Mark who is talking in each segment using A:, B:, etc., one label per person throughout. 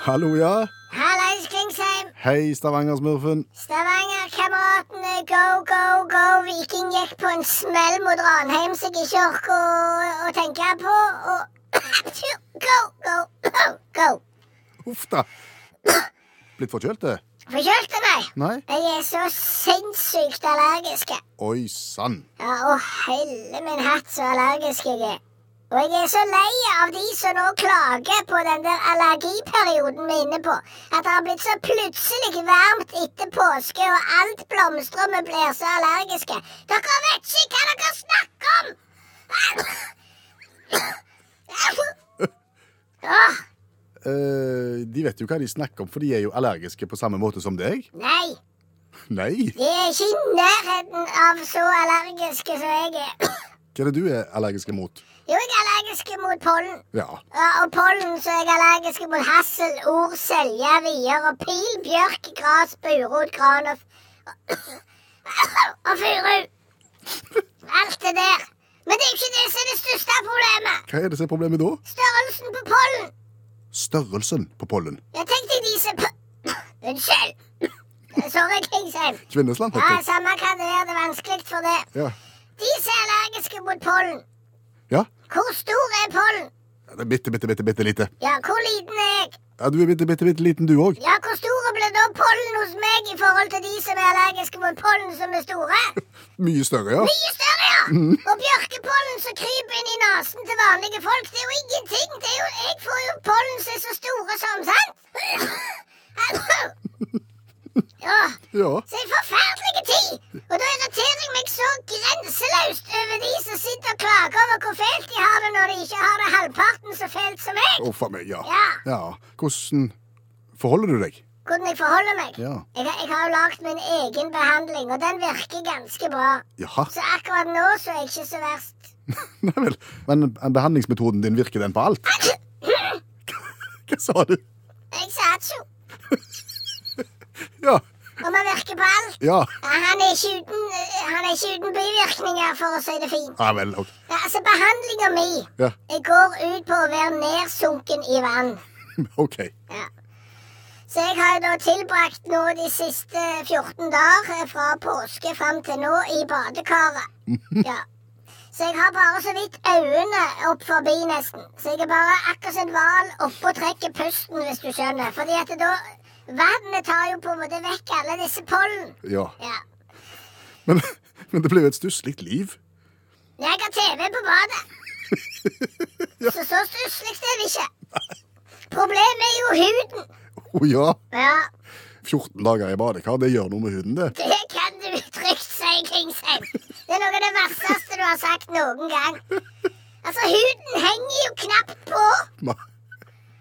A: Hallo, ja.
B: Hallais, Klingsheim.
A: Hei, Stavanger-smurfen.
B: Stavanger-kameratene, eh, go, go, go. Viking gikk på en smell mot Ranheim som jeg ikke orker å, å tenke på. Og go, go, go.
A: Uff da. Blitt forkjølt, det?
B: Forkjølte meg.
A: Nei?
B: Jeg er så sinnssykt allergisk.
A: Oi sann.
B: Ja, og helle min hatt så allergisk jeg er. Og jeg er så lei av de som nå klager på den der allergiperioden vi er inne på. At det har blitt så plutselig varmt etter påske, og alt blomstrer vi blir så allergiske. Dere vet ikke hva dere snakker om! Åh,
A: Eh, de vet jo hva de snakker om, for de er jo allergiske på samme måte som deg.
B: nei.
A: Nei.
B: De er ikke i nærheten av så allergiske som jeg er.
A: Hva er det du er allergisk mot?
B: Jo, jeg er allergisk mot pollen.
A: Ja.
B: Ja, og pollen, så er jeg allergisk mot hassel, ord, selje, vier og pil, bjørk, gras, burot, gran og, og furu. Alt det der. Men det er jo ikke det som er det største problemet.
A: Hva er det som er problemet da?
B: Størrelsen på pollen.
A: Størrelsen på pollen.
B: Jeg tenkte de som p- Unnskyld. Sorry, Kingsheim.
A: Kvinnesland,
B: Ja,
A: heter det.
B: Samme hva det er, det er vanskelig for det.
A: Ja.
B: De som er allergiske mot pollen,
A: ja.
B: hvor stor er pollen?
A: Det er bitte, bitte, bitte, bitte lite.
B: Ja, hvor liten er jeg?
A: Ja, du er bitte, bitte, bitte liten, du òg.
B: Ja, hvor store blir da pollen hos meg i forhold til de som er allergiske mot pollen som er store?
A: Mye større, ja.
B: Mye større, ja! Og bjørkepollen som kryper inn i nesen til vanlige folk, det er jo ingenting. Det er jo, jeg får jo pollen som er så store som, sant? Ja,
A: Ja.
B: så en forferdelig tid! Og da irriterer jeg meg så grenseløst over de som sitter og klager over hvor fælt de har det når de ikke har det halvparten så fælt som meg.
A: Uff a meg, ja.
B: Ja.
A: ja. Hvordan forholder du deg?
B: Hvordan jeg forholder meg.
A: Ja.
B: Jeg, har- jeg har jo lagd min egen behandling, og den virker ganske bra.
A: Jaha.
B: Så akkurat nå så er jeg ikke så verst.
A: Nei vel. Men behandlingsmetoden din, virker den på alt? Hva sa du?
B: Jeg sa atjo.
A: Ja.
B: Og man virker på alt.
A: Ja.
B: Ja, Han er, ikke uten, eh, han er ikke uten bivirkninger, for å si det fint.
A: Ja vel. ok.
B: Ja, Altså, behandlinga mi
A: Ja.
B: eh, går ut på å være nedsunken i vann.
A: OK.
B: Ja. Så jeg har jo da tilbrakt nå de siste 14 dager eh, fra påske fram til nå i badekaret. Ja. Så jeg har bare så vidt øynene opp forbi nesten. Så jeg er bare akkurat som en hval oppe og trekker pusten, hvis du skjønner. Fordi at da Vannet tar jo på en måte vekk alle disse pollen.
A: Ja.
B: Ja.
A: Men, men det blir jo et stusslig liv.
B: Jeg har TV på badet. Så så stusslig er det ikke. Problemet er jo huden.
A: Å ja.
B: Ja.
A: 14 dager i badekar, det gjør noe med huden, det.
B: Det kan du trygt si, Kingsheim. Det er noe av det verste du har sagt noen gang. Altså, huden henger jo knapt på.
A: Nei.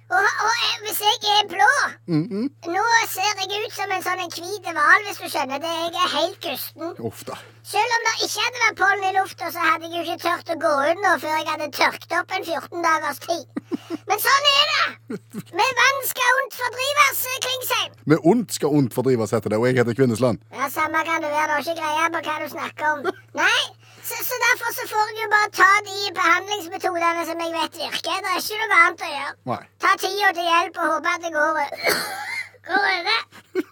B: Og, og eh, hvis jeg er blå
A: mhm,
B: Nå ser jeg ut som en sånn en hvit hval, hvis du skjønner. det. Jeg er helt gusten.
A: Uff da.
B: Selv om det ikke hadde vært pollen i lufta, så hadde jeg jo ikke tørt å gå ut nå før jeg hadde tørket opp en 14 dagers tid. Men sånn er det. Med vann skal ondt fordrives, Klingsheim.
A: Med ondt skal ondt fordrives, heter det, og jeg heter Kvinnesland.
B: Ja, Samme kan det være, du har ikke greie på hva du snakker om. Nei, så, så derfor så får jeg jo bare ta de behandlingsmetodene som jeg vet virker. Det er ikke noe annet å gjøre.
A: Nei.
B: Ta tida til hjelp og håpe at det går, o- går over.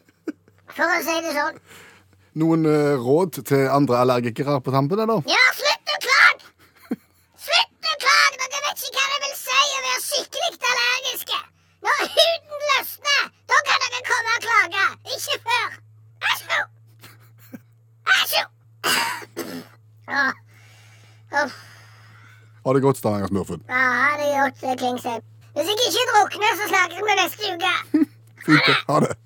B: For å si det sånn.
A: Noen eh, råd til andre allergikere på tampen, eller?
B: Ja, slutt å klage! Slutt å klage! Dere vet ikke hva det vil si å være skikkelig allergiske. Når huden løsner, da kan dere komme og klage. Ikke før. Æsjo! Æsjo! Åh. Uff.
A: Ha det godt, Stavanger-smurfen.
B: Ja, det er gjort, Klingsheim. Hvis jeg ikke drukner, så snakkes vi neste uke.
A: Fint, det. Ha det.